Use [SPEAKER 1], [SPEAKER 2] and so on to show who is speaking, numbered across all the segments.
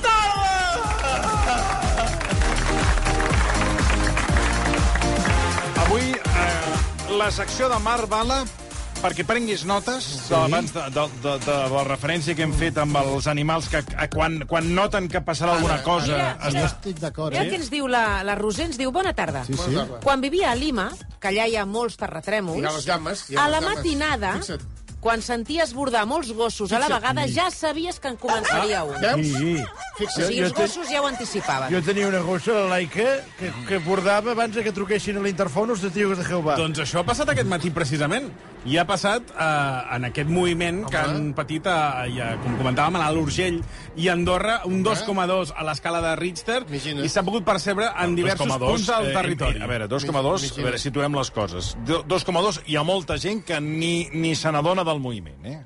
[SPEAKER 1] tardes!
[SPEAKER 2] Avui, eh, la secció de Marc Bala, perquè prenguis notes sí. abans de, de, de, de la referència que hem fet amb els animals que eh, quan, quan noten que passarà alguna cosa...
[SPEAKER 3] mira,
[SPEAKER 2] es-
[SPEAKER 3] mira.
[SPEAKER 4] No estic d'acord,
[SPEAKER 3] Mira què
[SPEAKER 4] eh?
[SPEAKER 3] ens diu la, la Roser, ens diu bona tarda.
[SPEAKER 4] Sí, sí.
[SPEAKER 3] Quan vivia a Lima, que allà hi ha molts
[SPEAKER 5] Hi ha les
[SPEAKER 3] terratrèmols,
[SPEAKER 5] gammes, hi ha
[SPEAKER 3] a
[SPEAKER 5] les
[SPEAKER 3] la
[SPEAKER 5] gammes.
[SPEAKER 3] matinada,
[SPEAKER 5] Fixa't.
[SPEAKER 3] quan senties bordar molts gossos a la vegada, ja sabies que en començaria un.
[SPEAKER 5] Veus?
[SPEAKER 6] Sí.
[SPEAKER 3] O
[SPEAKER 5] Fixa't.
[SPEAKER 3] sigui,
[SPEAKER 6] Jo-
[SPEAKER 3] els
[SPEAKER 6] jo te-
[SPEAKER 3] gossos ja ho anticipaven.
[SPEAKER 6] Jo tenia una gossa, la Laika, que, que bordava abans de que truquessin a l'interfon els de tios de Jehovà.
[SPEAKER 7] Doncs això ha passat aquest matí, precisament. I ha passat eh, en aquest moviment Home. que han patit, a, i a, com comentàvem, a l'Alt Urgell i a Andorra, un 2,2 a l'escala de Richter,
[SPEAKER 5] Imagina't.
[SPEAKER 7] i s'ha pogut percebre en diversos
[SPEAKER 2] 2,2,
[SPEAKER 7] punts del
[SPEAKER 2] eh,
[SPEAKER 7] territori.
[SPEAKER 2] A veure, 2,2, a veure, situem les coses. Do- 2,2, hi ha molta gent que ni, ni se n'adona del moviment, eh?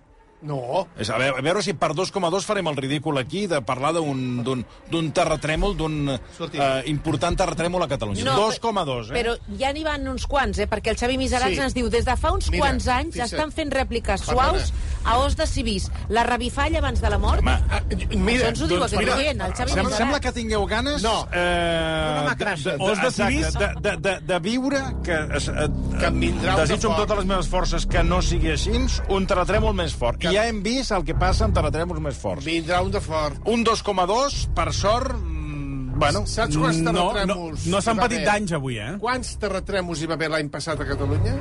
[SPEAKER 5] No.
[SPEAKER 2] És, a, veure, a veure si per 2,2 farem el ridícul aquí de parlar d'un d'un- d'un terratrèmol, d'un eh, important terratrèmol a Catalunya.
[SPEAKER 3] No,
[SPEAKER 2] 2,2, eh?
[SPEAKER 3] Però ja n'hi van uns quants, eh? perquè el Xavi Miserats
[SPEAKER 5] Sí.
[SPEAKER 3] sí. ens diu des de fa uns
[SPEAKER 5] Mira,
[SPEAKER 3] quants anys
[SPEAKER 5] fixa't.
[SPEAKER 3] estan fent rèpliques
[SPEAKER 5] Perdona.
[SPEAKER 3] suaus a os de civís. La revifalla abans de la mort...
[SPEAKER 2] Home,
[SPEAKER 5] Ah,
[SPEAKER 3] Això
[SPEAKER 5] mira,
[SPEAKER 3] ens ho diu aquest
[SPEAKER 5] mira,
[SPEAKER 3] oient, el Xavi
[SPEAKER 2] Sem
[SPEAKER 3] Miserats.
[SPEAKER 2] doncs sembla que tingueu ganes...
[SPEAKER 5] No.
[SPEAKER 2] Eh,
[SPEAKER 6] Una macrassa.
[SPEAKER 2] de- de- Os de civís, de, de, de, de viure, que, es, eh,
[SPEAKER 5] Que em vindrà un
[SPEAKER 2] desitjo amb
[SPEAKER 5] de fort.
[SPEAKER 2] totes les meves forces que no sigui així, un terratrèmol més fort.
[SPEAKER 5] Que-
[SPEAKER 2] I ja hem vist el que passa amb terratrèmols més forts.
[SPEAKER 5] Vindrà un de fort.
[SPEAKER 2] Un 2,2, per sort... mm, Bueno,
[SPEAKER 5] Saps quants
[SPEAKER 7] no, no,
[SPEAKER 5] terratrèmols
[SPEAKER 7] no s'han
[SPEAKER 5] hi va
[SPEAKER 7] patit
[SPEAKER 5] haver?
[SPEAKER 7] danys avui, eh?
[SPEAKER 5] Quants terratrèmols hi va haver l'any passat a Catalunya?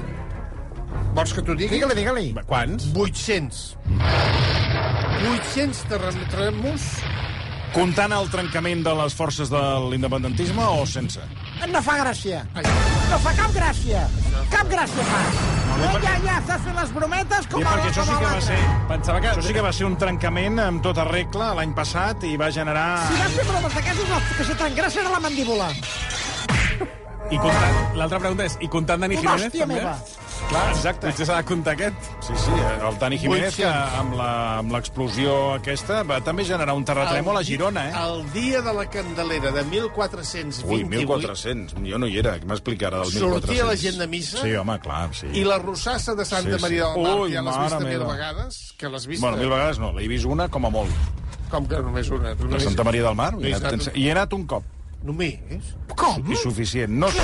[SPEAKER 5] Vols que t'ho digui?
[SPEAKER 2] digue-li, digue-li.
[SPEAKER 7] Quants?
[SPEAKER 5] 800. 800 terratrèmols.
[SPEAKER 2] Comptant el trencament de les forces de l'independentisme o sense?
[SPEAKER 8] No fa gràcia.
[SPEAKER 5] Ai.
[SPEAKER 8] No fa cap gràcia. Cap gràcia fa. Eh, ja, ja, estàs fent les brometes com
[SPEAKER 2] I
[SPEAKER 8] a
[SPEAKER 2] perquè això sí
[SPEAKER 8] com a
[SPEAKER 2] que va
[SPEAKER 8] l'altre.
[SPEAKER 2] ser...
[SPEAKER 7] Pensava que...
[SPEAKER 2] Això sí que va ser un trencament amb tota regla l'any passat i va generar...
[SPEAKER 8] Si vas fer bromes d'aquestes, no, que se t'engracen a la mandíbula.
[SPEAKER 7] I comptant... L'altra pregunta és, i comptant Dani
[SPEAKER 8] Una
[SPEAKER 7] Jiménez,
[SPEAKER 8] hòstia
[SPEAKER 7] també?
[SPEAKER 8] meva.
[SPEAKER 7] Clar, exacte. Potser s'ha de comptar aquest.
[SPEAKER 2] Sí, sí, el Dani Jiménez, que amb la- amb l'explosió aquesta, va també generar un terratrèmol a Girona, eh?
[SPEAKER 5] El dia de la Candelera de 1428
[SPEAKER 2] Ui, 1.400, jo no hi era, què m'explicarà del 1.400?
[SPEAKER 5] Sortia la gent de missa?
[SPEAKER 2] Sí, home, clar, sí.
[SPEAKER 5] i la rossassa de Santa
[SPEAKER 2] Sí, sí.
[SPEAKER 5] Maria del Mar,
[SPEAKER 2] Ui,
[SPEAKER 5] que ja l'has
[SPEAKER 2] mare
[SPEAKER 5] vist mil
[SPEAKER 2] meva.
[SPEAKER 5] vegades, que l'has vist... eh?
[SPEAKER 2] Bueno, mil vegades no, l'he vist una com a molt.
[SPEAKER 5] Com que només una? Tu
[SPEAKER 2] La
[SPEAKER 5] només...
[SPEAKER 2] Santa Maria del Mar,
[SPEAKER 5] No
[SPEAKER 2] hi
[SPEAKER 5] hi
[SPEAKER 2] he
[SPEAKER 5] està.
[SPEAKER 2] anat, hi he anat un cop.
[SPEAKER 5] Només?
[SPEAKER 2] I suficient. No sé.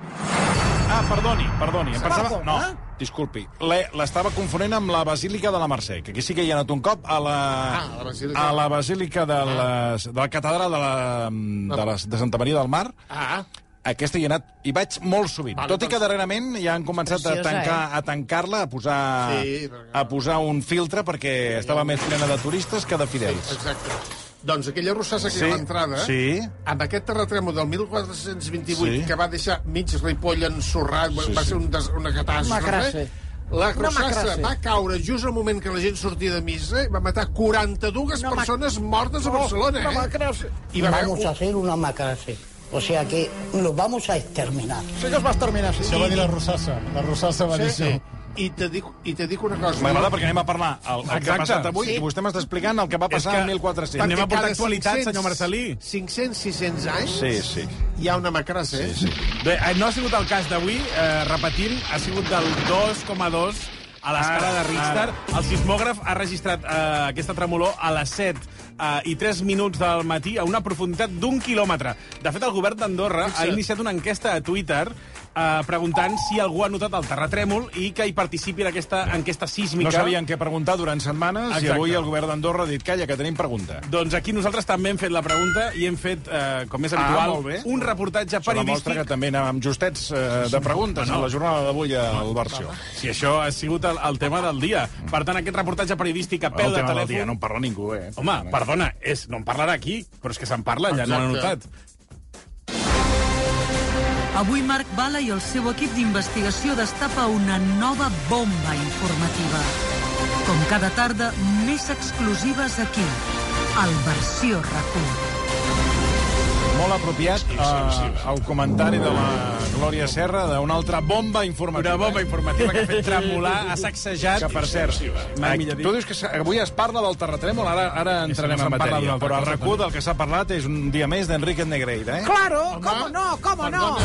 [SPEAKER 2] Ah, perdoni, perdoni. Em pensava...
[SPEAKER 5] eh?
[SPEAKER 2] No, disculpi. L'he- L'estava confonent amb la Basílica de la Mercè, que aquí sí que hi ha anat un cop a la...
[SPEAKER 5] Ah, a la Basílica. Ah.
[SPEAKER 2] A la Basílica de, les, de la Catedral de, la, de, les, de Santa Maria del Mar.
[SPEAKER 5] Ah,
[SPEAKER 2] Aquesta hi he anat, hi vaig molt sovint.
[SPEAKER 5] Vale,
[SPEAKER 2] Tot i que
[SPEAKER 5] doncs- eh?
[SPEAKER 2] darrerament ja han començat a tancar a tancar-la, a posar
[SPEAKER 5] Sí, perquè-
[SPEAKER 2] a posar un filtre perquè estava més plena de turistes que de fidels.
[SPEAKER 5] exacte. Doncs aquella rossassa que hi ha a l'entrada,
[SPEAKER 2] sí.
[SPEAKER 5] amb aquest terratrèmol del 1428,
[SPEAKER 2] Sí.
[SPEAKER 5] que va deixar mig Ripoll ensorrat,
[SPEAKER 2] Sí,
[SPEAKER 5] sí, va
[SPEAKER 2] sí.
[SPEAKER 5] ser un des... una catàstrofe,
[SPEAKER 8] Macrase.
[SPEAKER 5] la
[SPEAKER 8] Una
[SPEAKER 5] rossassa
[SPEAKER 8] macrase.
[SPEAKER 5] va caure just al moment que la gent sortia de missa i va matar 42
[SPEAKER 8] Una mac-
[SPEAKER 5] persones mortes a Barcelona,
[SPEAKER 8] No, no
[SPEAKER 5] eh?
[SPEAKER 8] me creus.
[SPEAKER 5] I va haver...
[SPEAKER 9] Vamos a hacer una macrase. O sea que los vamos a exterminar.
[SPEAKER 8] Sí que es va exterminar, sí.
[SPEAKER 4] Això va dir la Rosassa. La Rosassa va dir això.
[SPEAKER 5] Sí. I te dic, i te dic una cosa.
[SPEAKER 2] M'agrada perquè anem a parlar el, el que ha
[SPEAKER 7] Exacte.
[SPEAKER 2] passat avui
[SPEAKER 5] Sí.
[SPEAKER 2] i vostè m'està explicant el que va passar
[SPEAKER 7] que-
[SPEAKER 2] en 1400.
[SPEAKER 7] Anem a portar
[SPEAKER 5] cada
[SPEAKER 7] actualitat, senyor Marcelí.
[SPEAKER 5] 500, 600 anys
[SPEAKER 2] Sí, sí.
[SPEAKER 5] hi ha una macrassa, eh? Sí, sí.
[SPEAKER 7] Bé, eh, no ha sigut el cas d'avui, eh, repetint, ha sigut del 2,2 a l'escala
[SPEAKER 2] Ah,
[SPEAKER 7] de Richter. El sismògraf ha registrat eh, aquesta tremolor a les 7 eh, i 3 minuts del matí a una profunditat d'un quilòmetre. De fet, el govern d'Andorra ha iniciat una enquesta a Twitter eh, preguntant si algú ha notat el terratrèmol i que hi participi en aquesta enquesta sísmica.
[SPEAKER 2] No sabien què preguntar durant setmanes Exacte. i
[SPEAKER 7] Exacte.
[SPEAKER 2] avui el govern d'Andorra ha dit calla, que tenim pregunta.
[SPEAKER 7] Doncs aquí nosaltres també hem fet la pregunta i hem fet, eh, com és
[SPEAKER 2] Ah,
[SPEAKER 7] habitual,
[SPEAKER 2] molt bé.
[SPEAKER 7] un reportatge
[SPEAKER 2] Això demostra
[SPEAKER 7] periodístic
[SPEAKER 2] que també anàvem justets eh, de preguntes no, no. a la jornada d'avui al Barció.
[SPEAKER 7] Si això ha sigut el, el tema del dia. Per tant, aquest reportatge periodístic a
[SPEAKER 2] El
[SPEAKER 7] peu de
[SPEAKER 2] tema del
[SPEAKER 7] telèfon...
[SPEAKER 2] dia no en parla ningú, eh?
[SPEAKER 7] Home, perdona, és, no en parlarà aquí, però és que se'n parla, ja n'han notat.
[SPEAKER 5] Exacte.
[SPEAKER 10] Avui Marc Bala i el seu equip d'investigació destapa una nova bomba informativa. Com cada tarda, més exclusives aquí, al Versió RAC1.
[SPEAKER 2] Molt apropiat eh, el comentari de la Glòria Serra d'una altra bomba informativa. eh?
[SPEAKER 7] Una bomba informativa que ha fet tremolar, ha sacsejat.
[SPEAKER 2] Que, per cert,
[SPEAKER 7] Mai millor dit.
[SPEAKER 2] tu dius que s'ha- avui es parla del terratrèmol, ara, ara entrarem
[SPEAKER 7] no
[SPEAKER 2] en
[SPEAKER 7] se'n parla
[SPEAKER 2] matèria.
[SPEAKER 7] d'una altra
[SPEAKER 2] Però el
[SPEAKER 7] cosa,
[SPEAKER 2] recu del que s'ha parlat és un dia més d'Enriquet Negreira, eh?
[SPEAKER 8] Claro, cómo no, cómo no.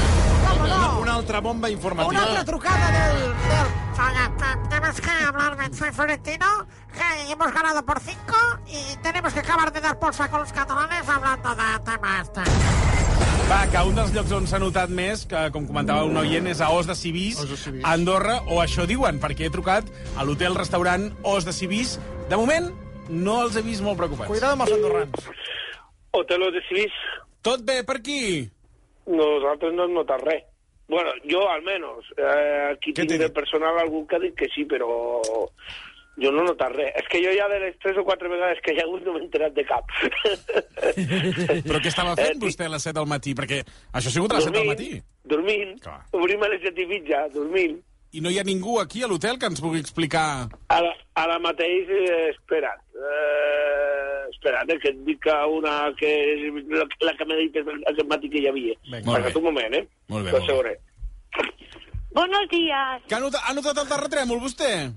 [SPEAKER 8] Cómo no.
[SPEAKER 2] Una altra bomba informativa.
[SPEAKER 8] Una otra trucada del... del... Oiga, te- tenemos que hablar con Soy Florentino, que hemos ganado por cinco y tenemos que acabar de dar bolsa con los catalanes hablando de temas. este.
[SPEAKER 7] Va, que un dels llocs on s'ha notat més, que com comentava un oient, és a Os de Civís, a Andorra, o això diuen, perquè he trucat a l'hotel-restaurant Os de Civís. De moment, no els he vist molt preocupats.
[SPEAKER 6] Cuidado amb els andorrans.
[SPEAKER 11] Hotel de Suís.
[SPEAKER 7] Tot bé per aquí?
[SPEAKER 11] Nosaltres no hem notat res. Bueno, jo almenys. Eh, aquí tinc de personal algú que ha dit que sí, però jo no he notat res. És que jo ja de les tres o quatre vegades que hi ha hagut no m'he enterat de cap.
[SPEAKER 7] Però què estava fent vostè a les 7 del matí? Perquè això ha sigut a les 7 del matí.
[SPEAKER 11] dormint, obrim a les set i mitja, dormint.
[SPEAKER 7] I no hi ha ningú aquí a l'hotel que ens pugui explicar...
[SPEAKER 11] Ara, ara mateix, eh, espera't. Eh, espera't, eh, que et dic que una que és la, la que m'ha dit aquest matí que hi havia.
[SPEAKER 7] molt bé.
[SPEAKER 11] Passa un moment, eh?
[SPEAKER 7] Molt bé,
[SPEAKER 11] Tot
[SPEAKER 7] molt bé.
[SPEAKER 11] seguret.
[SPEAKER 12] Buenos días.
[SPEAKER 7] Que ha, notat, ha notat el terratrèmol, vostè?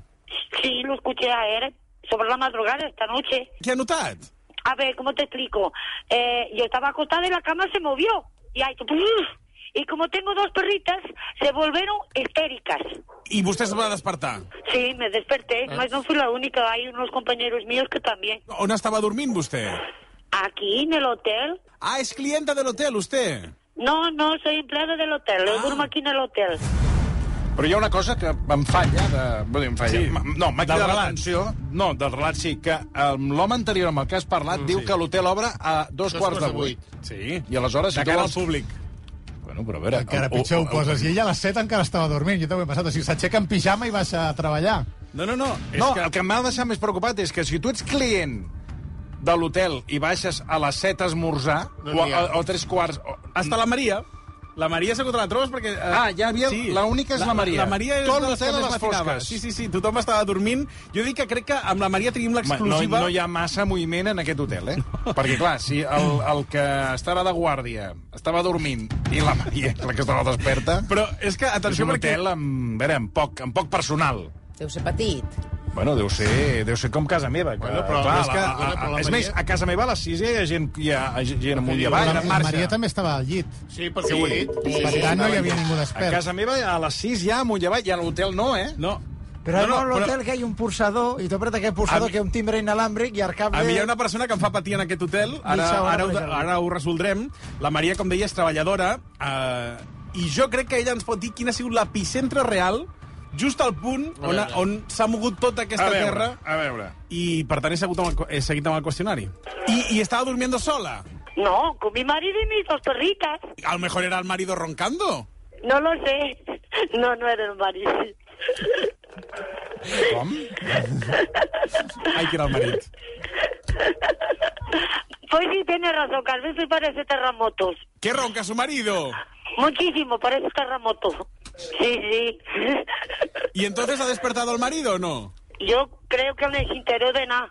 [SPEAKER 12] Sí, lo escuché ayer sobre la madrugada esta noche.
[SPEAKER 7] ¿Qué ha notado?
[SPEAKER 12] A ver, ¿cómo te explico? Eh, yo estaba acostada y la cama se movió. Y, ahí, ¡puf! y como tengo dos perritas, se volvieron histéricas.
[SPEAKER 7] I vostè es va despertar.
[SPEAKER 12] Sí, me desperté. Mas no fui la única. Hay unos compañeros míos que también.
[SPEAKER 7] On estava dormint, vostè?
[SPEAKER 12] Aquí, en el hotel.
[SPEAKER 7] Ah, es clienta del hotel, usted.
[SPEAKER 12] No, no, soy empleada del hotel. Yo duermo aquí en el hotel.
[SPEAKER 2] Però hi ha una cosa que em falla, de... Vull dir, em falla.
[SPEAKER 7] Sí.
[SPEAKER 2] M- No, m'ha
[SPEAKER 7] Del
[SPEAKER 2] cridat
[SPEAKER 7] relat.
[SPEAKER 2] l'atenció. No, del relat sí, que um, l'home anterior amb el que has parlat
[SPEAKER 7] Mm,
[SPEAKER 2] diu
[SPEAKER 7] sí.
[SPEAKER 2] que l'hotel obre a dos, quarts de vuit.
[SPEAKER 7] Sí.
[SPEAKER 2] I aleshores...
[SPEAKER 7] De
[SPEAKER 2] tu
[SPEAKER 7] cara
[SPEAKER 2] vols-
[SPEAKER 7] al públic.
[SPEAKER 2] Bueno, però a veure...
[SPEAKER 4] Encara pitjor ho poses. I ella a les 7 encara estava dormint. Jo també he passat. O sigui, s'aixeca en pijama i baixa a treballar.
[SPEAKER 2] No, no, no. No, que... el que m'ha deixat més preocupat és que si tu ets client de l'hotel i baixes a les 7 a esmorzar,
[SPEAKER 7] No
[SPEAKER 2] o,
[SPEAKER 7] n'hi
[SPEAKER 2] a,
[SPEAKER 7] ha.
[SPEAKER 2] o tres quarts... O...
[SPEAKER 7] Hasta la Maria. La Maria segur que la trobes perquè... Eh,
[SPEAKER 2] Ah, ja havia- l'única és la Maria.
[SPEAKER 7] La, Maria és
[SPEAKER 2] Tot
[SPEAKER 7] de les
[SPEAKER 2] l'hotel a
[SPEAKER 7] coses
[SPEAKER 2] les
[SPEAKER 7] que matinava.
[SPEAKER 2] fosques.
[SPEAKER 7] Sí, sí, sí, tothom estava dormint. Jo dic que crec que amb la Maria tenim
[SPEAKER 2] No,
[SPEAKER 7] l'exclusiva...
[SPEAKER 2] no hi ha massa moviment en aquest hotel, eh? Perquè, clar, si el, el que estava de guàrdia estava dormint i la Maria, la que estava desperta...
[SPEAKER 7] Però és que, atenció,
[SPEAKER 2] és un
[SPEAKER 7] perquè-
[SPEAKER 2] hotel amb, a veure, amb, poc, amb poc personal.
[SPEAKER 3] Deu ser petit.
[SPEAKER 2] Bueno, deu ser, deu ser com casa meva. Que,
[SPEAKER 4] Bueno, però-
[SPEAKER 2] clar,
[SPEAKER 4] és que-
[SPEAKER 2] la, a,
[SPEAKER 4] bueno, però la
[SPEAKER 2] és
[SPEAKER 4] Maria-
[SPEAKER 2] més, a casa meva a les 6 hi ha gent, hi ha gent amunt
[SPEAKER 4] La,
[SPEAKER 2] i avall,
[SPEAKER 4] la,
[SPEAKER 2] en
[SPEAKER 4] Maria
[SPEAKER 2] marxa.
[SPEAKER 4] també estava al llit.
[SPEAKER 5] Sí,
[SPEAKER 4] perquè ho he dit. Per tant, no hi havia ningú
[SPEAKER 2] A
[SPEAKER 4] despert.
[SPEAKER 2] casa meva a les 6 ja amunt i avall, i a l'hotel no, eh?
[SPEAKER 7] No.
[SPEAKER 13] Pero
[SPEAKER 2] No, no,
[SPEAKER 13] además en el
[SPEAKER 2] però-
[SPEAKER 13] hotel que hay un pulsador y tú apretas que hay un pulsador que es un timbre inalámbrico y al cable...
[SPEAKER 7] A mi hi
[SPEAKER 2] Eh,
[SPEAKER 7] ha una persona que em fa patir en aquest hotel, ara,
[SPEAKER 13] Deixa-ho,
[SPEAKER 7] ara, ho,
[SPEAKER 13] deixa-ho.
[SPEAKER 7] ara ho resoldrem. La Maria, com deia, és treballadora, eh, i jo crec que ella ens pot dir quin ha sigut l'epicentre real, just al punt
[SPEAKER 2] A
[SPEAKER 7] on,
[SPEAKER 2] veure.
[SPEAKER 7] on s'ha mogut tota aquesta
[SPEAKER 2] A veure,
[SPEAKER 7] terra.
[SPEAKER 2] A veure.
[SPEAKER 7] I, per tant, he seguit amb el, he seguit amb el qüestionari. I, I estava durmiendo sola.
[SPEAKER 12] No, con mi marido y mis dos perritas.
[SPEAKER 7] A lo mejor era el marido roncando.
[SPEAKER 12] No lo sé. No, no era el marido.
[SPEAKER 7] Com? Ai, que era el marit.
[SPEAKER 12] Pues sí, tienes razón, que a veces parece terremotos.
[SPEAKER 7] ¿Qué ronca su marido?
[SPEAKER 12] Muchísimo, parece terremotos. Sí, sí.
[SPEAKER 7] ¿Y entonces ha despertado el marido o no?
[SPEAKER 12] Yo creo que no se enteró de nada.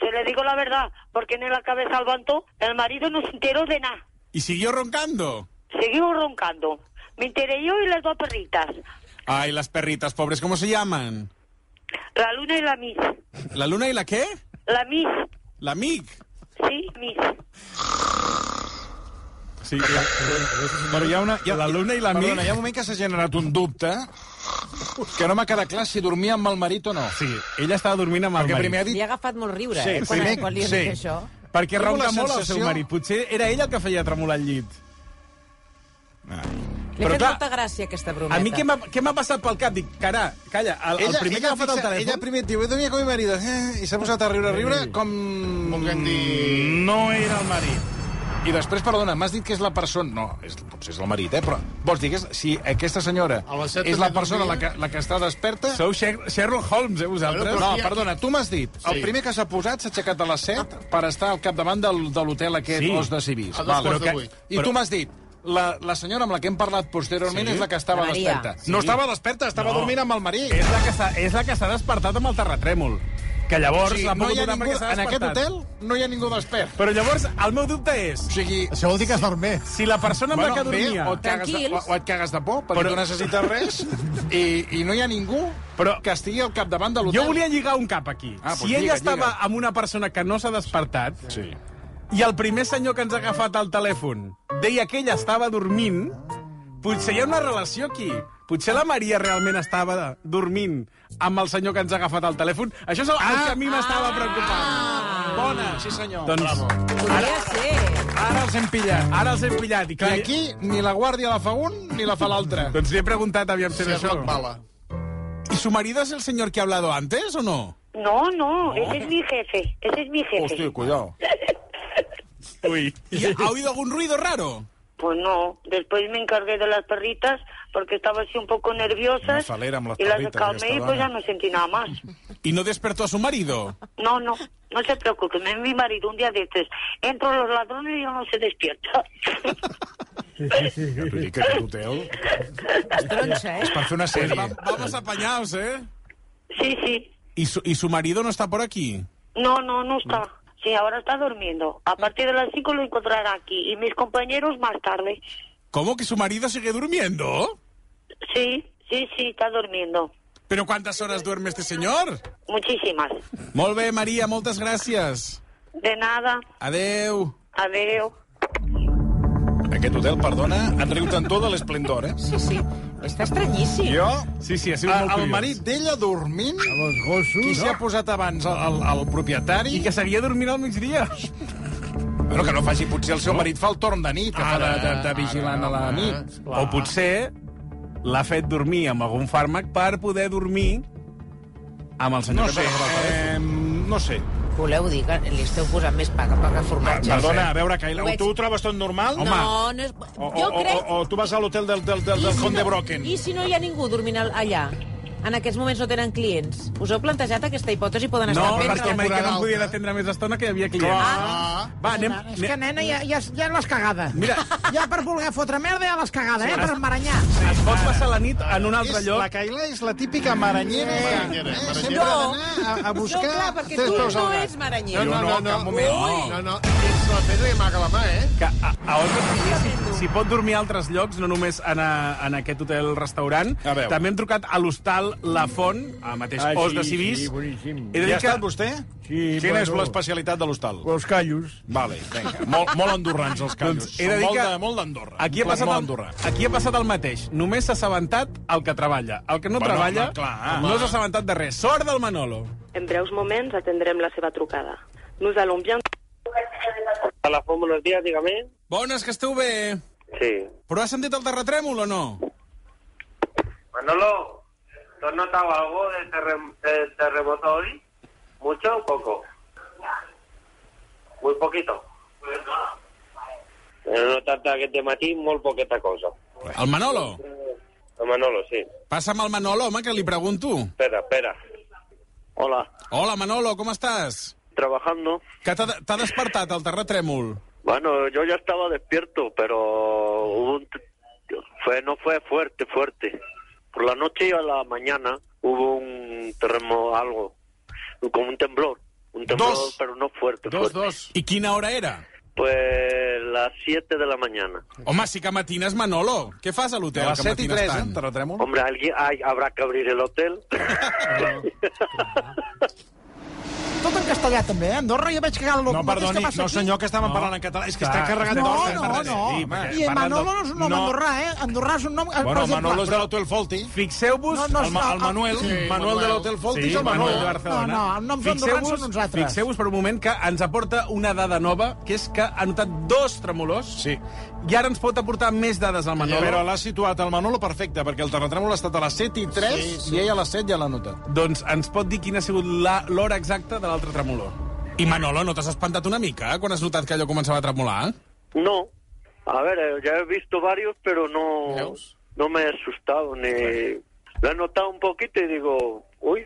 [SPEAKER 12] Se le digo la verdad, porque en la cabeza al banto el marido no se enteró de nada.
[SPEAKER 7] ¿Y siguió roncando?
[SPEAKER 12] Seguimos roncando. Me enteré yo y las dos perritas,
[SPEAKER 7] Ay, las perritas pobres, ¿cómo se llaman?
[SPEAKER 12] la luna y la mis.
[SPEAKER 7] ¿La luna y la qué?
[SPEAKER 12] La mis,
[SPEAKER 7] La mic.
[SPEAKER 12] sí, mis.
[SPEAKER 7] Sí.
[SPEAKER 2] Però hi ha una... Hi ha,
[SPEAKER 7] La luna i la
[SPEAKER 2] Perdona,
[SPEAKER 7] mic.
[SPEAKER 2] hi ha un moment que s'ha generat un dubte que no m'ha quedat clar si dormia amb el marit o no.
[SPEAKER 7] Sí, ella estava dormint amb el
[SPEAKER 2] Perquè
[SPEAKER 7] marit.
[SPEAKER 2] primer ha dit...
[SPEAKER 3] Li ha agafat molt riure,
[SPEAKER 2] Sí,
[SPEAKER 3] eh, quan,
[SPEAKER 2] primer-
[SPEAKER 3] quan li han dit
[SPEAKER 2] sí.
[SPEAKER 3] això.
[SPEAKER 7] Perquè
[SPEAKER 2] Tinc
[SPEAKER 7] ronca
[SPEAKER 2] la
[SPEAKER 7] molt el seu
[SPEAKER 2] sensació-
[SPEAKER 7] marit. Potser era ella el que feia tremolar el llit.
[SPEAKER 3] Li ha
[SPEAKER 7] Però
[SPEAKER 3] fet
[SPEAKER 7] clar,
[SPEAKER 3] molta gràcia, aquesta brometa.
[SPEAKER 7] a mi què m'ha què m'ha passat pel cap? Dic, cara, calla, el, el primer que ha agafat el
[SPEAKER 2] fixa-
[SPEAKER 7] telèfon...
[SPEAKER 2] Ella primer et diu, he dormit con mi marido, eh? i s'ha posat a riure, a riure, com... Volguem dir... No era el marit. I després, perdona, m'has dit que és la persona... No, és, potser és el marit, eh? Però vols dir que és, si aquesta senyora
[SPEAKER 7] set
[SPEAKER 2] és la
[SPEAKER 7] també
[SPEAKER 2] persona la
[SPEAKER 7] dormia?
[SPEAKER 2] que, la que està desperta...
[SPEAKER 7] Sou Sher- Sherlock Holmes, eh, vosaltres?
[SPEAKER 2] No, perdona, tu m'has dit,
[SPEAKER 7] Sí.
[SPEAKER 2] el primer que s'ha posat s'ha aixecat a les 7 per estar al capdavant del, de l'hotel aquest
[SPEAKER 7] Sí.
[SPEAKER 2] sí. Os de Civís.
[SPEAKER 7] A dos
[SPEAKER 2] Val,
[SPEAKER 7] quarts
[SPEAKER 2] però
[SPEAKER 7] de
[SPEAKER 2] que-
[SPEAKER 7] vuit.
[SPEAKER 2] I
[SPEAKER 7] Però-
[SPEAKER 2] tu m'has dit, la, la senyora amb la que hem parlat posteriorment
[SPEAKER 7] Sí.
[SPEAKER 2] és la que estava
[SPEAKER 7] La Maria.
[SPEAKER 2] desperta.
[SPEAKER 7] Sí.
[SPEAKER 2] No estava desperta, estava
[SPEAKER 7] No.
[SPEAKER 2] dormint amb el marit.
[SPEAKER 7] És la que s'ha- és la que s'ha despertat amb el terratrèmol. Que Que llavors
[SPEAKER 2] Sí,
[SPEAKER 7] la
[SPEAKER 2] no hi ha
[SPEAKER 7] puc donar
[SPEAKER 2] ningú,
[SPEAKER 7] perquè s'ha
[SPEAKER 2] en aquest
[SPEAKER 7] despertat.
[SPEAKER 2] hotel no hi ha ningú despert.
[SPEAKER 7] Però llavors, el meu dubte és... O
[SPEAKER 2] sigui,
[SPEAKER 4] Això vol dir que es dorm bé.
[SPEAKER 7] Si la persona amb la que dormia...
[SPEAKER 2] Bé, o, et cagues de, o, o et cagues de por, perquè
[SPEAKER 7] Però-
[SPEAKER 2] tu necessites res, i, i no hi ha ningú
[SPEAKER 7] Però-
[SPEAKER 2] que estigui al capdavant de l'hotel.
[SPEAKER 7] Jo volia lligar un cap aquí.
[SPEAKER 2] Ah,
[SPEAKER 7] Ah,
[SPEAKER 2] doncs
[SPEAKER 7] si ella
[SPEAKER 2] lliga,
[SPEAKER 7] estava
[SPEAKER 2] lliga.
[SPEAKER 7] amb una persona que no s'ha despertat
[SPEAKER 2] Sí.
[SPEAKER 7] i el primer senyor que ens ha agafat al telèfon deia que ella estava dormint, potser hi ha una relació aquí. Potser la Maria realment estava dormint amb el senyor que ens ha agafat al telèfon. Això és el, el que a mi m'estava preocupant. Bona.
[SPEAKER 2] Sí, senyor.
[SPEAKER 7] Doncs
[SPEAKER 2] Podria ser.
[SPEAKER 7] ara els hem pillat, ara els hem pillat. I
[SPEAKER 2] Que aquí ni la guàrdia la fa un ni la fa l'altra.
[SPEAKER 7] Doncs li he preguntat, aviam, si
[SPEAKER 2] Sí,
[SPEAKER 7] era
[SPEAKER 2] és
[SPEAKER 7] això.
[SPEAKER 2] rock bala.
[SPEAKER 7] ¿Y su marido es el señor que ha hablado antes o no?
[SPEAKER 12] No, no, ese es mi jefe. Ese es mi jefe.
[SPEAKER 7] cuidado. Uy. ¿Y ¿Ha oído algún ruido raro?
[SPEAKER 12] Pues no, después me encargué de las perritas porque estaba así un poco
[SPEAKER 7] Una
[SPEAKER 12] nerviosas
[SPEAKER 7] salera amb les
[SPEAKER 12] y las
[SPEAKER 7] perritas
[SPEAKER 12] calmé y
[SPEAKER 7] aquesta
[SPEAKER 12] pues ya
[SPEAKER 7] dona.
[SPEAKER 12] no sentí nada más.
[SPEAKER 7] ¿Y no despertó a su marido?
[SPEAKER 12] No, no, no se preocupe, es mi marido un día de estos. Entro los ladrones y yo no se despierta.
[SPEAKER 2] Vull dir que aquest hotel...
[SPEAKER 12] Es tronxa,
[SPEAKER 3] eh?
[SPEAKER 2] És per fer una sèrie.
[SPEAKER 7] Vamos apañados, ¿eh?
[SPEAKER 12] Sí, sí.
[SPEAKER 7] ¿Y su, ¿Y su marido no está por aquí?
[SPEAKER 12] No, no, no está. Sí, ahora está durmiendo. A partir de las 5 lo encontrará aquí y mis compañeros más tarde.
[SPEAKER 7] ¿Cómo que su marido sigue durmiendo?
[SPEAKER 12] Sí, sí, sí, está durmiendo.
[SPEAKER 7] ¿Pero cuántas horas duerme este señor?
[SPEAKER 12] Muchísimas.
[SPEAKER 7] Molt bé, Maria, moltes gràcies.
[SPEAKER 12] De nada,
[SPEAKER 7] Adeu.
[SPEAKER 12] adeo.
[SPEAKER 2] Aquest hotel, perdona, en riu tant tot de l'esplendor, eh?
[SPEAKER 3] Sí, sí. Està estranyíssim.
[SPEAKER 2] Jo...
[SPEAKER 7] Sí, sí, ha
[SPEAKER 2] El, el marit d'ella dormint...
[SPEAKER 7] Ah,
[SPEAKER 2] Amb els gossos. Qui s'hi ha posat abans? El, el, el propietari?
[SPEAKER 7] I que seguia dormint al migdia.
[SPEAKER 2] Bueno, que no faci... Potser el seu marit fa el torn de nit, que fa de, de, de vigilant a la nit.
[SPEAKER 7] O potser l'ha fet dormir amb algun fàrmac per poder dormir amb el senyor
[SPEAKER 2] No sé,
[SPEAKER 7] que t'ha agafat el telèfon.
[SPEAKER 2] eh, no sé.
[SPEAKER 3] Voleu dir que li esteu posant més paga, paga formatge.
[SPEAKER 2] Perdona, a veure, Caila,
[SPEAKER 3] Ho veig.
[SPEAKER 2] tu ho trobes tot normal?
[SPEAKER 3] No, no és...
[SPEAKER 2] O,
[SPEAKER 3] jo
[SPEAKER 2] o,
[SPEAKER 3] crec...
[SPEAKER 2] o, o tu vas a l'hotel del, del, del, del
[SPEAKER 3] I si
[SPEAKER 2] Conde
[SPEAKER 3] no-
[SPEAKER 2] Brocken.
[SPEAKER 3] I si no hi ha ningú dormint al- allà? En aquests moments no tenen clients. Us heu plantejat aquesta hipòtesi? Poden
[SPEAKER 7] No,
[SPEAKER 3] estar
[SPEAKER 7] perquè m'ha dit que no em podia atendre més estona, que hi havia clients.
[SPEAKER 3] Ah.
[SPEAKER 7] Va, anem...
[SPEAKER 13] És que, nena, ja, ja, ja l'has cagada.
[SPEAKER 7] Mira.
[SPEAKER 13] Ja per voler fotre merda ja l'has cagada, eh? Per embaranyar.
[SPEAKER 7] Es pot passar la nit en un altre
[SPEAKER 2] És-
[SPEAKER 7] lloc...
[SPEAKER 2] La Caila és la típica maranyera.
[SPEAKER 5] Maranyera,
[SPEAKER 2] eh?
[SPEAKER 5] maranyera.
[SPEAKER 2] Sempre ha d'anar a, a buscar...
[SPEAKER 3] No, clar, perquè
[SPEAKER 2] tres
[SPEAKER 3] tu
[SPEAKER 2] peus al
[SPEAKER 3] no
[SPEAKER 2] gat.
[SPEAKER 3] ets maranyer.
[SPEAKER 2] Jo no, en cap moment.
[SPEAKER 5] Ui. No, no, ets la pedra i amaga la mà, eh?
[SPEAKER 7] Que a, a on si pot dormir a altres llocs, no només en, a, en aquest hotel-restaurant.
[SPEAKER 2] A veure.
[SPEAKER 7] També hem trucat a l'hostal La Font, a mateix
[SPEAKER 6] Ah,
[SPEAKER 7] Os
[SPEAKER 6] sí,
[SPEAKER 7] de Civís.
[SPEAKER 6] sí, boníssim.
[SPEAKER 7] He de dir
[SPEAKER 2] Hi ha
[SPEAKER 7] que
[SPEAKER 2] estat vostè?
[SPEAKER 6] Sí,
[SPEAKER 2] Quina és
[SPEAKER 6] bueno.
[SPEAKER 2] l'especialitat de l'hostal?
[SPEAKER 6] Els callos.
[SPEAKER 2] Vale, vinga. Molt, molt andorrans, els callos.
[SPEAKER 7] Doncs he de dir
[SPEAKER 2] molt
[SPEAKER 7] que-
[SPEAKER 2] de- molt d'Andorra.
[SPEAKER 7] Aquí ha,
[SPEAKER 2] Un plat
[SPEAKER 7] passat
[SPEAKER 2] molt
[SPEAKER 7] el,
[SPEAKER 2] andorrà.
[SPEAKER 7] aquí ha passat el mateix. Només s'ha assabentat el que treballa. El que no
[SPEAKER 2] Bueno,
[SPEAKER 7] treballa
[SPEAKER 2] home, clar.
[SPEAKER 7] no s'ha assabentat de res. Sort del Manolo.
[SPEAKER 14] En breus moments atendrem la seva trucada. Nous allons bien...
[SPEAKER 11] A la FOM, buenos días, dígame.
[SPEAKER 7] Bones, que esteu bé.
[SPEAKER 11] Sí.
[SPEAKER 7] Però has sentit el terratrèmol o no?
[SPEAKER 11] Manolo, ¿tú has notado algo de, terrem- de terremoto hoy? ¿Mucho o poco? Muy poquito. No trata que te matí, muy poquita cosa.
[SPEAKER 7] El Manolo?
[SPEAKER 11] Manolo, sí.
[SPEAKER 7] Passa'm el Manolo, home, que li pregunto.
[SPEAKER 11] Espera, espera. Hola.
[SPEAKER 7] Hola, Manolo, com estàs?
[SPEAKER 15] Trabajando.
[SPEAKER 7] Que t'ha t'ha despertat el terratrèmol?
[SPEAKER 15] Bueno, yo ya estaba despierto, pero hubo un t- fue no fue fuerte, fuerte. Por la noche y a la mañana hubo un terremoto, algo, como un temblor. Un temblor, pero no fuerte. fuerte.
[SPEAKER 7] I quina hora era?
[SPEAKER 15] Pues las 7 de la mañana.
[SPEAKER 7] Home, sí que matines, Manolo. Què fas a l'hotel?
[SPEAKER 15] A les
[SPEAKER 7] que
[SPEAKER 15] set i
[SPEAKER 7] matines
[SPEAKER 15] tres,
[SPEAKER 7] tant?
[SPEAKER 15] eh, Hombre, alguien, hay- habrá que abrir el hotel.
[SPEAKER 13] Tot en castellà, també, eh? Andorra ja vaig cagar el
[SPEAKER 2] No,
[SPEAKER 13] mateix
[SPEAKER 2] perdoni,
[SPEAKER 13] que passa
[SPEAKER 2] no,
[SPEAKER 13] aquí.
[SPEAKER 2] senyor, que estàvem parlant en català. És que està carregat
[SPEAKER 13] no,
[SPEAKER 2] d'hores,
[SPEAKER 13] No,
[SPEAKER 2] parlant-
[SPEAKER 13] no,
[SPEAKER 2] Sí,
[SPEAKER 13] no.
[SPEAKER 2] home,
[SPEAKER 13] I
[SPEAKER 2] parlant de-
[SPEAKER 13] Manolo no és un nom
[SPEAKER 2] No.
[SPEAKER 13] andorrà, eh? Andorrà és un nom... per
[SPEAKER 2] Bueno,
[SPEAKER 13] exemple,
[SPEAKER 2] Manolo és de l'Hotel Folti.
[SPEAKER 7] Fixeu-vos,
[SPEAKER 13] No, no,
[SPEAKER 2] el, Ma-
[SPEAKER 13] no,
[SPEAKER 2] el Manuel,
[SPEAKER 13] sí,
[SPEAKER 2] Manuel,
[SPEAKER 13] Manuel.
[SPEAKER 2] de l'Hotel Folti
[SPEAKER 7] Sí,
[SPEAKER 2] és el Manuel.
[SPEAKER 7] Manuel de Barcelona.
[SPEAKER 13] No, no, els noms andorrans són uns altres.
[SPEAKER 7] Fixeu-vos per un moment que ens aporta una dada nova, que és que ha notat dos tremolors. Sí. I ara ens pot aportar més dades al Manolo.
[SPEAKER 2] Però l'ha situat el Manolo perfecte, perquè el terratrèmol ha estat a les 7 i 3 sí, sí. i ell a les 7 ja l'ha notat.
[SPEAKER 7] Doncs ens pot dir quina ha sigut la- l'hora exacta de l'altre tremolor. I Manolo, no t'has espantat una mica eh, quan has notat que allò començava a tremolar?
[SPEAKER 15] No, a ver, eh, ya he visto varios, pero no, no me he asustado ni... Lo he notado un poquito y digo, uy,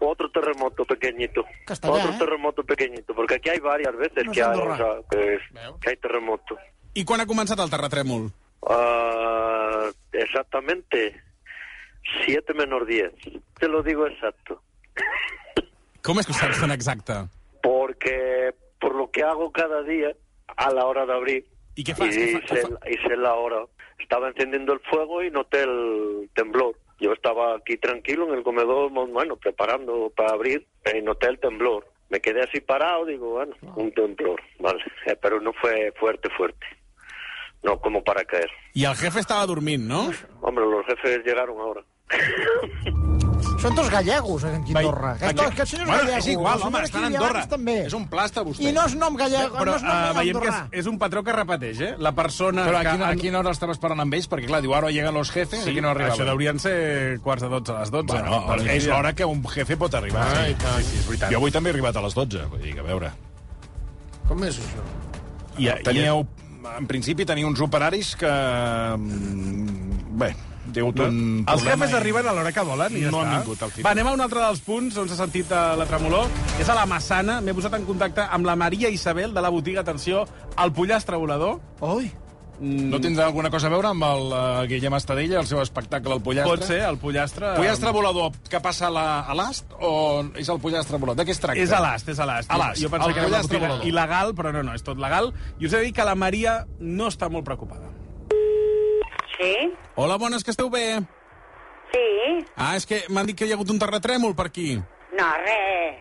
[SPEAKER 15] otro terremoto pequeñito. otro terremoto pequeñito, porque aquí hay varias veces
[SPEAKER 7] No es
[SPEAKER 15] que, hay,
[SPEAKER 7] Andorra.
[SPEAKER 15] o sea, que, que hay terremoto.
[SPEAKER 7] I quan ha començat el terratrèmol?
[SPEAKER 15] Ah, exactamente, 7 menos 10. Te lo digo exacto.
[SPEAKER 7] ¿Cómo es que usted es tan exacta?
[SPEAKER 15] porque por lo que hago cada día a la hora de abrir.
[SPEAKER 7] ¿Y qué fas? ¿Qué fa- qué
[SPEAKER 15] hice, hice la hora. Estaba encendiendo el fuego y noté el temblor. Yo estaba aquí tranquilo en el comedor, mo- bueno, preparando para abrir, y noté el temblor. Me quedé así parado, digo, bueno, un temblor, vale. Eh, Pero no fue fuerte, fuerte. No como para caer.
[SPEAKER 7] I el jefe estava dormint, no?
[SPEAKER 13] Doncs
[SPEAKER 15] Hombre, los jefes llegaron ahora.
[SPEAKER 13] Són tots gallegos, eh, en Quindorra. Aquest, aquest senyor és
[SPEAKER 7] Bueno,
[SPEAKER 13] gallego.
[SPEAKER 7] és igual,
[SPEAKER 13] el senyor
[SPEAKER 7] home,
[SPEAKER 13] aquí
[SPEAKER 7] està a
[SPEAKER 13] de
[SPEAKER 7] Andorra.
[SPEAKER 13] Llanes També.
[SPEAKER 2] És un plasta, vostè.
[SPEAKER 13] I no és nom gallego,
[SPEAKER 7] Però
[SPEAKER 13] no és nom
[SPEAKER 7] eh, veiem que és,
[SPEAKER 13] andorrà.
[SPEAKER 7] és un patró que es repeteix, eh? La persona
[SPEAKER 2] Però a
[SPEAKER 7] que...
[SPEAKER 2] quina, a quina hora estava esperant amb ells? Perquè, clar, diu, ara lleguen los jefes, sí,
[SPEAKER 7] Sí,
[SPEAKER 2] aquí no arribaven.
[SPEAKER 7] això deurien ser quarts de 12 a les Doncs 12.
[SPEAKER 2] Bueno,
[SPEAKER 7] Del
[SPEAKER 2] és
[SPEAKER 7] migdia.
[SPEAKER 2] l'hora que un jefe pot arribar.
[SPEAKER 7] Ah, i tant.
[SPEAKER 2] sí, és veritat. Jo avui també he arribat a les 12, vull dir, que a veure.
[SPEAKER 5] Com és això?
[SPEAKER 2] I, teníeu, en principi, teniu uns operaris que... mm, Bé, hi ha hagut un
[SPEAKER 7] Els
[SPEAKER 2] problema
[SPEAKER 7] jefes
[SPEAKER 2] i-
[SPEAKER 7] arriben a l'hora que volen i ja
[SPEAKER 2] no
[SPEAKER 7] està.
[SPEAKER 2] han vingut al final.
[SPEAKER 7] Va, anem a un altre dels punts on s'ha sentit eh, la tremolor. És a la Massana. M'he posat en contacte amb la Maria Isabel de la botiga, atenció, el pollastre volador.
[SPEAKER 13] Oi!
[SPEAKER 2] No tindrà alguna cosa a veure amb el eh, Guillem Estadella, el seu espectacle, el pollastre?
[SPEAKER 7] Pot ser, el pollastre...
[SPEAKER 2] Pollastre volador que passa a la- a l'ast o és el pollastre volador? De què es tracta?
[SPEAKER 7] És a l'ast, és a l'ast.
[SPEAKER 2] A l'ast,
[SPEAKER 7] Jo pensava
[SPEAKER 2] el
[SPEAKER 7] que era una
[SPEAKER 2] pollastre
[SPEAKER 7] botiga
[SPEAKER 2] volador.
[SPEAKER 7] il·legal, però no, no, és tot legal. I us he de dir que la Maria no està molt preocupada.
[SPEAKER 12] Sí,
[SPEAKER 7] Hola, bones, que esteu bé?
[SPEAKER 12] sí.
[SPEAKER 7] Ah, és que m'han dit que hi ha hagut un terratrèmol per aquí.
[SPEAKER 12] No, re.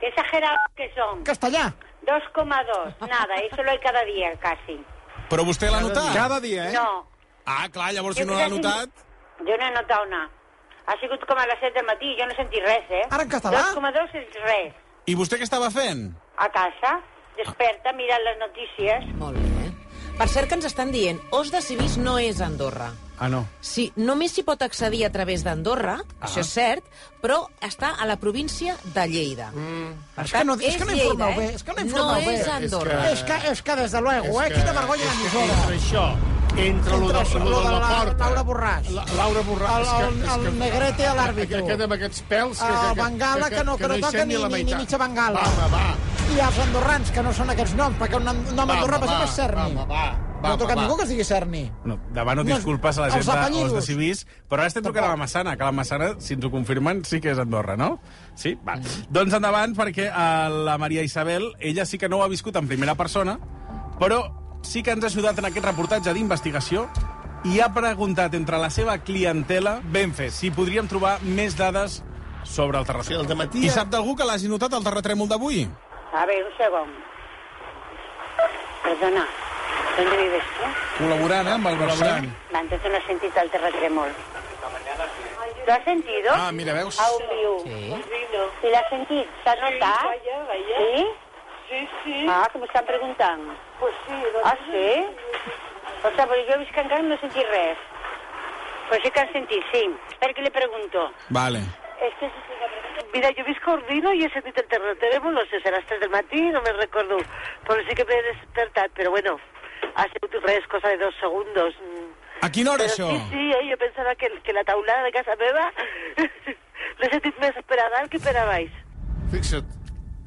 [SPEAKER 12] Qué exagerados que son.
[SPEAKER 13] Castellà.
[SPEAKER 12] 2,2. Nada, eso lo hay cada día casi.
[SPEAKER 7] Però vostè l'ha notat?
[SPEAKER 12] Cada dia, eh? No.
[SPEAKER 7] Ah, clar, llavors
[SPEAKER 12] Jo
[SPEAKER 7] si no l'ha
[SPEAKER 12] crec que-
[SPEAKER 7] notat...
[SPEAKER 12] Jo no he notat una. Ha sigut com a les 7 del matí, jo no he sentit res, eh?
[SPEAKER 13] Ara en català?
[SPEAKER 12] 2,2 és res.
[SPEAKER 7] I vostè què estava fent?
[SPEAKER 12] A casa, desperta, mirant les notícies.
[SPEAKER 3] Molt bé. eh? Per cert, que ens estan dient, Os de Civís no és Andorra.
[SPEAKER 7] Ah, no.
[SPEAKER 3] Sí, només s'hi pot accedir a través d'Andorra, ah. això és cert, però està a la província de Lleida. Mm.
[SPEAKER 13] És que no, és que no informeu bé, és que no informeu
[SPEAKER 3] no
[SPEAKER 13] bé.
[SPEAKER 3] és Andorra.
[SPEAKER 13] És que, és que des de luego, eh? Quina vergonya l'emissora.
[SPEAKER 6] Entre això, entre lo de,
[SPEAKER 13] Entre
[SPEAKER 6] lo de la
[SPEAKER 13] la
[SPEAKER 6] porta...
[SPEAKER 13] Laura Borràs.
[SPEAKER 6] La, Laura Borràs...
[SPEAKER 13] El, el, el negrete a l'àrbitre.
[SPEAKER 5] Que queda amb aquests pèls... Que,
[SPEAKER 13] El bengala, que no, que no
[SPEAKER 5] hi
[SPEAKER 13] toca
[SPEAKER 5] sent
[SPEAKER 13] ni,
[SPEAKER 5] la
[SPEAKER 13] ni, ni
[SPEAKER 5] meitat.
[SPEAKER 13] mitja bengala.
[SPEAKER 5] Va, va, va.
[SPEAKER 13] I els andorrans, que no són aquests noms, perquè un nom
[SPEAKER 5] Va, va,
[SPEAKER 13] andorrà passa
[SPEAKER 5] va,
[SPEAKER 13] per Cerni.
[SPEAKER 5] va, va, va,
[SPEAKER 13] No toca
[SPEAKER 5] va, va.
[SPEAKER 13] ningú que es digui Cerni.
[SPEAKER 7] No, demano
[SPEAKER 13] No,
[SPEAKER 7] disculpes a la
[SPEAKER 13] els
[SPEAKER 7] gent de
[SPEAKER 13] apellidos.
[SPEAKER 7] Os de Civís, però ara estem trucant a la Massana, que la Massana, si ens ho confirmen, sí que és Andorra, no? Sí? Va.
[SPEAKER 13] Mm.
[SPEAKER 7] Doncs endavant, perquè eh, la Maria Isabel, ella sí que no ho ha viscut en primera persona, però sí que ens ha ajudat en aquest reportatge d'investigació i ha preguntat entre la seva clientela ben fet si podríem trobar més dades sobre el terratrèmol. I sap d'algú que l'hagi notat, el terratrèmol d'avui?
[SPEAKER 12] A ver, un segon. Perdona, ¿dónde vives tú?
[SPEAKER 2] Col·laborant, eh, amb el Col·laborant.
[SPEAKER 12] Va, entonces no has sentido el terratremol. ¿Lo has sentido?
[SPEAKER 2] Ah, mira, veus?
[SPEAKER 12] A un viu. Sí. I l'has sentit? S'ha notat? Ah. Sí? Sí, sí. Ah, que m'ho estan preguntant. Pues sí. Doncs... Ah, sí? Ostres, però jo he vist que encara no he sentit res. Però sí que han sentit, sí. Espera que li pregunto.
[SPEAKER 7] Vale.
[SPEAKER 12] És que... Mira, jo visc a Ordino i he sentit el terratrèmol, no sé, serà les 3 del matí, no me'n recordo, però sí que m'he despertat, però bueno, ha sigut res, cosa de dos segundos. Mm.
[SPEAKER 7] A quina hora,
[SPEAKER 12] Però
[SPEAKER 7] això?
[SPEAKER 12] Sí, sí, eh, jo pensava que, que la taulada de casa meva l'he sentit més per a dalt que per a baix.
[SPEAKER 5] Fixa't.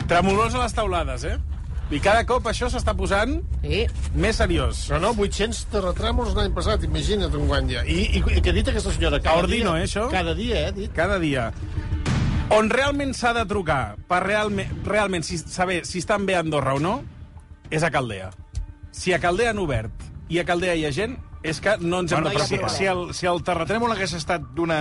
[SPEAKER 7] Tremolors a les taulades, eh? I cada cop això s'està posant
[SPEAKER 3] sí.
[SPEAKER 7] més seriós.
[SPEAKER 5] No, no, 800 terratrèmols l'any passat, imagina't un guany ja. I, i, i què ha dit aquesta senyora?
[SPEAKER 7] A Ordino,
[SPEAKER 5] dia,
[SPEAKER 7] eh, això?
[SPEAKER 5] Cada dia, eh, ha dit.
[SPEAKER 7] Cada dia. On realment s'ha de trucar per realment, realment si, saber si estan bé a Andorra o no, és a Caldea. Si a Caldea han obert i a Caldea hi ha gent, és que no ens hem
[SPEAKER 2] Bueno,
[SPEAKER 7] de
[SPEAKER 2] però si,
[SPEAKER 7] preocupar.
[SPEAKER 2] si, el, si el terratrèmol hagués estat d'una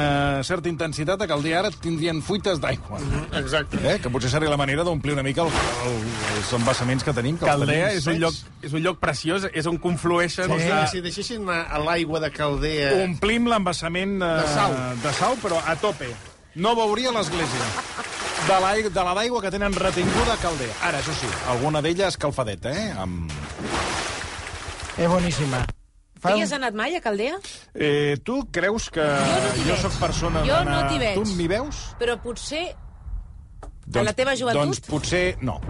[SPEAKER 2] certa intensitat, a Caldia ara tindrien fuites d'aigua.
[SPEAKER 5] Mhm. Exacte.
[SPEAKER 2] Eh? Que potser seria la manera d'omplir una mica el, el, els embassaments que tenim. Que els
[SPEAKER 7] Caldea
[SPEAKER 2] tenim
[SPEAKER 7] és un,
[SPEAKER 2] secs.
[SPEAKER 7] lloc, és un lloc preciós, és on conflueixen...
[SPEAKER 5] O
[SPEAKER 7] els
[SPEAKER 5] sigui,
[SPEAKER 7] de-
[SPEAKER 5] si deixessin anar a l'aigua de Caldea...
[SPEAKER 2] Omplim l'embassament eh,
[SPEAKER 5] Eh. De sau.
[SPEAKER 2] de sau, però a tope. No veuria l'església. De la, de la d'aigua que tenen retinguda a Caldea. Ara, això sí, alguna d'elles escalfadeta, eh? Amb...
[SPEAKER 13] És boníssima.
[SPEAKER 3] Tu hi has anat mai, a Caldea?
[SPEAKER 2] Eh, tu creus que jo,
[SPEAKER 3] t'hi
[SPEAKER 2] jo
[SPEAKER 3] veig.
[SPEAKER 2] sóc persona
[SPEAKER 3] Jo no
[SPEAKER 2] d'anar-
[SPEAKER 3] t'hi veig.
[SPEAKER 2] Tu m'hi veus?
[SPEAKER 3] Però potser... En la teva joventut?
[SPEAKER 2] Doncs potser no.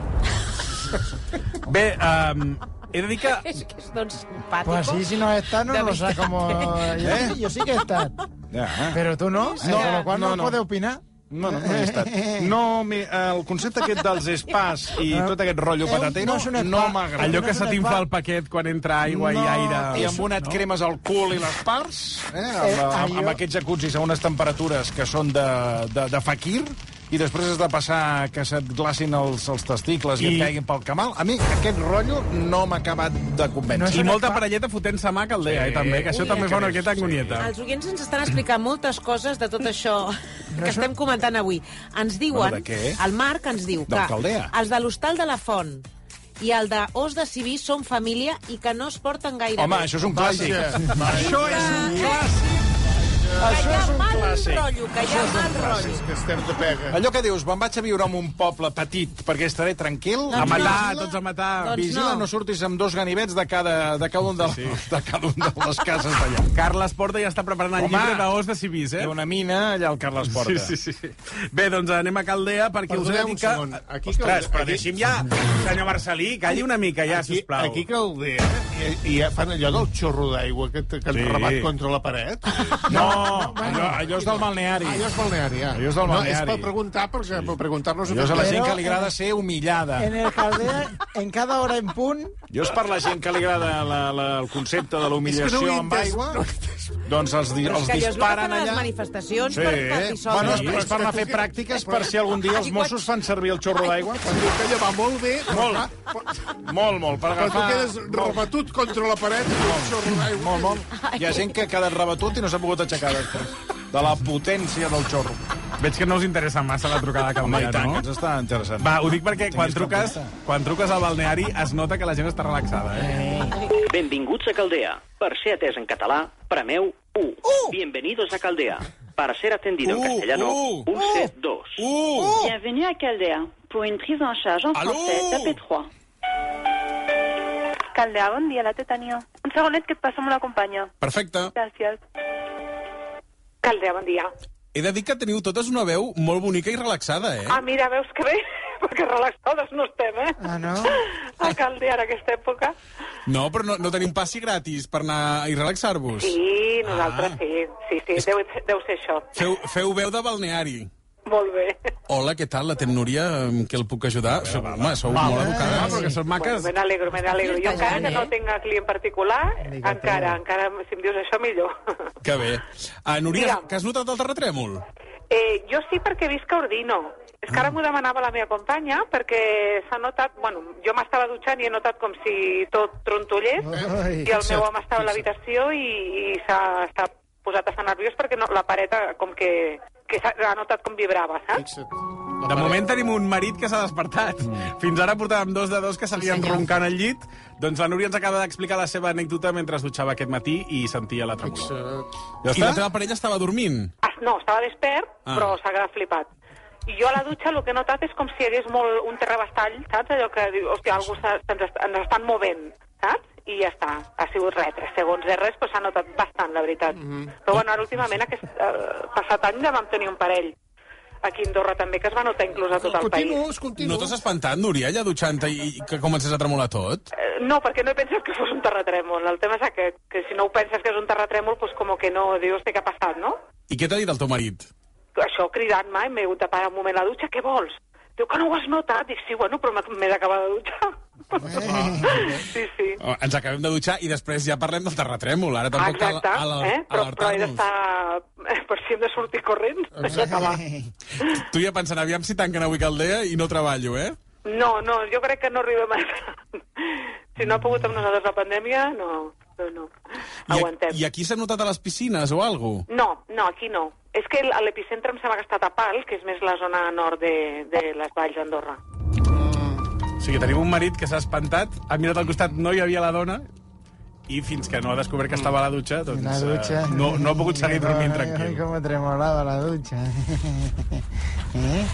[SPEAKER 7] Bé, um, he de dir que...
[SPEAKER 3] És que és doncs simpàtico.
[SPEAKER 13] Pues sí, si no he estat, no
[SPEAKER 3] De
[SPEAKER 13] lo sé
[SPEAKER 3] veritat.
[SPEAKER 13] como... Yo,
[SPEAKER 2] ¿Eh?
[SPEAKER 13] yo sí que he estado.
[SPEAKER 2] Ja, eh?
[SPEAKER 13] Pero tú no,
[SPEAKER 2] No,
[SPEAKER 13] no, lo cual no,
[SPEAKER 2] no, no.
[SPEAKER 13] puede opinar.
[SPEAKER 2] No, no, no hi he estat. No, mi, el concepte aquest dels spas i tot aquest rotllo
[SPEAKER 13] Eh, no
[SPEAKER 2] patatero
[SPEAKER 13] és un
[SPEAKER 2] no,
[SPEAKER 13] spa.
[SPEAKER 2] m'agrada.
[SPEAKER 7] Allò
[SPEAKER 13] No
[SPEAKER 7] que
[SPEAKER 13] és
[SPEAKER 7] se
[SPEAKER 13] un
[SPEAKER 7] t'infla
[SPEAKER 13] spa.
[SPEAKER 7] el paquet quan entra aigua
[SPEAKER 2] no,
[SPEAKER 7] i aire...
[SPEAKER 2] I amb una et cremes al cul i les parts, eh? amb, amb, amb aquests jacuzzis a unes temperatures que són de, de, de fakir, i després has de passar que se't glacin els, els testicles i,
[SPEAKER 16] I-
[SPEAKER 2] i et caiguin pel camal. A mi aquest rotllo no m'ha acabat de convèncer.
[SPEAKER 16] I molta parelleta fotent-se mà que el deia, eh, també, que això
[SPEAKER 3] Ui,
[SPEAKER 16] també fa una
[SPEAKER 3] que
[SPEAKER 16] miqueta angonieta.
[SPEAKER 3] Els oients ens estan explicant moltes coses de tot això que estem comentant avui. Ens diuen,
[SPEAKER 16] Bueno, de què?
[SPEAKER 3] el Marc ens diu que
[SPEAKER 16] D'alcaldea.
[SPEAKER 3] els de l'Hostal de la Font i el de Os de Civí són família i que no es porten gaire
[SPEAKER 2] Home,
[SPEAKER 3] bé.
[SPEAKER 2] això és un clàssic.
[SPEAKER 5] Això és un clàssic.
[SPEAKER 3] Això és un
[SPEAKER 2] clàssic.
[SPEAKER 3] Rotllo, que hi ha mal rotllo.
[SPEAKER 5] que estem de pega.
[SPEAKER 2] Allò que dius, me'n vaig a viure en un poble petit perquè estaré tranquil.
[SPEAKER 16] Doncs A matar, no. tots a matar. Doncs
[SPEAKER 2] Vigila,
[SPEAKER 16] no.
[SPEAKER 2] no. surtis amb dos ganivets de cada, de cada un de, sí, sí. de, cada un de les cases d'allà.
[SPEAKER 16] Carles Porta ja està preparant el
[SPEAKER 2] Home,
[SPEAKER 16] llibre d'Os de Civís, eh?
[SPEAKER 2] Hi ha una mina allà al Carles Porta.
[SPEAKER 16] Sí, sí, sí. Bé, doncs anem a Caldea perquè us he
[SPEAKER 5] Perdoneu
[SPEAKER 16] de dir
[SPEAKER 5] un
[SPEAKER 16] que...
[SPEAKER 5] segon. Aquí
[SPEAKER 16] Ostres,
[SPEAKER 5] Caldea-
[SPEAKER 16] però
[SPEAKER 5] aquí-
[SPEAKER 16] deixi'm ja, senyor Marcelí, calli una mica ja,
[SPEAKER 5] Aquí-
[SPEAKER 16] sisplau.
[SPEAKER 5] Aquí Caldea, eh, i, i fan allò del xorro d'aigua que, que sí.
[SPEAKER 16] Sí.
[SPEAKER 5] han rebat contra la paret. Ah,
[SPEAKER 2] No, allò, allò és del balneari.
[SPEAKER 5] Allò és balneari, ja.
[SPEAKER 2] Allò és del
[SPEAKER 5] No, és
[SPEAKER 2] balneari.
[SPEAKER 5] per preguntar, per, sí. per preguntar-nos...
[SPEAKER 2] Allò és a la gent que li
[SPEAKER 5] Però-
[SPEAKER 2] agrada ser humillada.
[SPEAKER 9] En el Caldea, en cada hora en punt,
[SPEAKER 2] Jo és per la gent que li agrada la, la, el concepte de la humillació
[SPEAKER 5] ho he
[SPEAKER 2] amb
[SPEAKER 5] entès,
[SPEAKER 2] aigua. Doncs els, di-
[SPEAKER 3] Però és que allò
[SPEAKER 2] els
[SPEAKER 3] és el que
[SPEAKER 2] disparen
[SPEAKER 3] fan a les
[SPEAKER 2] allà.
[SPEAKER 3] manifestacions
[SPEAKER 2] Sí,
[SPEAKER 3] per, per dissoldre.
[SPEAKER 2] bueno, és, és per anar a fer pràctiques per si algun dia els Mossos fan servir el xorro d'aigua.
[SPEAKER 5] Quan diu que allò va molt bé...
[SPEAKER 2] Molt, molt, molt, per
[SPEAKER 5] Però tu
[SPEAKER 2] agafar...
[SPEAKER 5] quedes rebatut contra la paret i un xorro d'aigua.
[SPEAKER 2] Molt, molt. Hi ha gent que ha quedat rebatut i no s'ha pogut aixecar després. De la potència del xorro.
[SPEAKER 16] Veig que no us interessa massa la trucada que
[SPEAKER 2] Home, i
[SPEAKER 16] em
[SPEAKER 2] tant,
[SPEAKER 16] no?
[SPEAKER 2] que ens està interessant.
[SPEAKER 16] Va, ho dic perquè quan
[SPEAKER 2] Tinguis
[SPEAKER 16] truques, quan truques al balneari es nota que la gent està relaxada, eh?
[SPEAKER 15] Benvinguts a Caldea. Per ser atès en català, premeu 1. Uh! Bienvenidos a Caldea. Para ser atendido en castellano, pulse 2.
[SPEAKER 5] Uh!
[SPEAKER 7] Uh!
[SPEAKER 17] Bienvenue à Caldea. Pour une prise en charge en français, tapez 3.
[SPEAKER 12] Caldea, bon dia, la té Tania. Un segonet que et passa amb la companya.
[SPEAKER 7] Perfecte.
[SPEAKER 12] Gràcies. Caldea, bon dia.
[SPEAKER 7] He de dir que teniu totes una veu molt bonica i relaxada, eh?
[SPEAKER 12] Ah, mira, veus que bé? Perquè relaxades no estem, eh? Ah, no? A Caldea, en aquesta època.
[SPEAKER 7] No, però no, no teniu passi gratis per anar i relaxar-vos.
[SPEAKER 12] Sí, nosaltres
[SPEAKER 7] Ah.
[SPEAKER 12] sí. Sí, sí, deu, deu ser això.
[SPEAKER 7] Feu, feu veu de balneari.
[SPEAKER 12] Molt bé.
[SPEAKER 7] Hola, què tal? La tem Núria, en què el puc ajudar? Sou, home, sou molt educada.
[SPEAKER 16] Ah, però que són
[SPEAKER 12] Bueno,
[SPEAKER 16] maques.
[SPEAKER 12] me n'alegro, me n'alegro. Jo encara que
[SPEAKER 7] eh?
[SPEAKER 12] no tinc client particular, encara, encara, si em dius això, millor.
[SPEAKER 7] Que bé. Ah, Núria,
[SPEAKER 12] Digue'm.
[SPEAKER 7] que has notat el terratrèmol?
[SPEAKER 12] Eh, jo sí perquè visc a Ordino. És que ara
[SPEAKER 9] Mm.
[SPEAKER 12] m'ho demanava la meva companya perquè s'ha notat... Bueno, jo m'estava dutxant i he notat com si tot trontollés
[SPEAKER 9] Ai,
[SPEAKER 12] i el
[SPEAKER 9] fixa't,
[SPEAKER 12] meu home estava a l'habitació i, i s'ha s'ha posat a estar nerviós perquè no, la pareta com que, que s'ha ha notat com vibrava, saps?
[SPEAKER 16] De moment tenim un marit que s'ha despertat. Fins ara portàvem dos de dos que seguien
[SPEAKER 12] Mm. senyor.
[SPEAKER 16] roncant al llit. Doncs la Núria ens acaba d'explicar la seva anècdota mentre es dutxava aquest matí i sentia la tremolor.
[SPEAKER 7] Ja I la teva parella estava dormint?
[SPEAKER 12] Ah, No, estava despert,
[SPEAKER 7] Ah.
[SPEAKER 12] però s'ha quedat flipat. I jo a la dutxa el que he notat és com si hi hagués molt un terrabastall, saps? Allò que diu, hòstia, algú s'ha- se'ns est- ens estan movent, saps? I ja està, ha sigut res, tres segons de res, però s'ha notat bastant, la veritat. Però bueno, ara últimament, aquest eh, passat any, ja vam tenir un parell. Aquí a Andorra també, que es va notar inclús a tot el país.
[SPEAKER 7] No t'has espantat, Núria, allà dutxant-te i, i que comences a tremolar tot?
[SPEAKER 12] Eh, No, perquè no he pensat que fos un terratrèmol. El tema és aquest, que si no ho penses que és un terratrèmol, doncs com que no, dius, hòstia, què ha passat, no?
[SPEAKER 7] I què t'ha dit el teu marit?
[SPEAKER 12] això cridant-me, m'he hagut de parar un moment a la dutxa, què vols? Diu que no ho has notat? Dic, sí, bueno, però m'he- m'he d'acabar de dutxar. sí, sí.
[SPEAKER 7] Oh, Ens acabem de dutxar i després ja parlem del terratrèmol. Ara tampoc
[SPEAKER 12] Exacte,
[SPEAKER 7] cal al-
[SPEAKER 12] eh? però, però he
[SPEAKER 7] alertar-nos.
[SPEAKER 12] d'estar... eh, Per si hem de sortir corrents, vaig acabar.
[SPEAKER 7] Tu ja pensant, aviam si tanquen avui Caldea i no treballo, eh?
[SPEAKER 12] No, no, jo crec que no arribem a... Si no ha pogut amb nosaltres la pandèmia, no, no, no. Aguantem.
[SPEAKER 7] I aquí s'ha notat a les piscines o alguna cosa?
[SPEAKER 12] No, no, aquí no. És que l- l'epicentre em sembla que està a Tapal, que és més la zona nord de, de les valls d'Andorra.
[SPEAKER 16] O sigui, tenim un marit que s'ha espantat, ha mirat al costat, no hi havia la dona, i fins que no ha descobert que estava a la dutxa, doncs,
[SPEAKER 9] Mm. la dutxa...
[SPEAKER 16] eh, no, no ha pogut seguir dormint
[SPEAKER 9] Ai,
[SPEAKER 16] tranquil.
[SPEAKER 9] com tremolava la dutxa. Eh?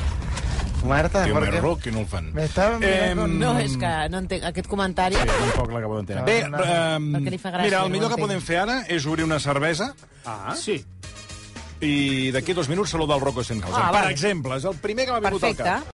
[SPEAKER 9] Marta,
[SPEAKER 2] Tio,
[SPEAKER 9] ¿por
[SPEAKER 2] més
[SPEAKER 9] qué?
[SPEAKER 2] rock i no el fan.
[SPEAKER 9] Eh,
[SPEAKER 2] eh,
[SPEAKER 9] Me estava mirant con...
[SPEAKER 3] No, és que no entenc aquest comentari.
[SPEAKER 2] Tampoc l'acabo d'entendre. Bé,
[SPEAKER 3] No, no,
[SPEAKER 2] ehm,
[SPEAKER 3] perquè li fa gràcia,
[SPEAKER 2] mira, el
[SPEAKER 3] no
[SPEAKER 2] millor
[SPEAKER 3] ho
[SPEAKER 2] que podem
[SPEAKER 3] entenc.
[SPEAKER 2] fer ara és obrir una cervesa.
[SPEAKER 16] Ah,
[SPEAKER 2] sí. I d'aquí dos minuts saludar el Rocco Stenhouse.
[SPEAKER 3] Ah,
[SPEAKER 2] per
[SPEAKER 3] vale.
[SPEAKER 2] exemple, és el primer que m'ha vingut al
[SPEAKER 3] Perfecte.
[SPEAKER 2] cap.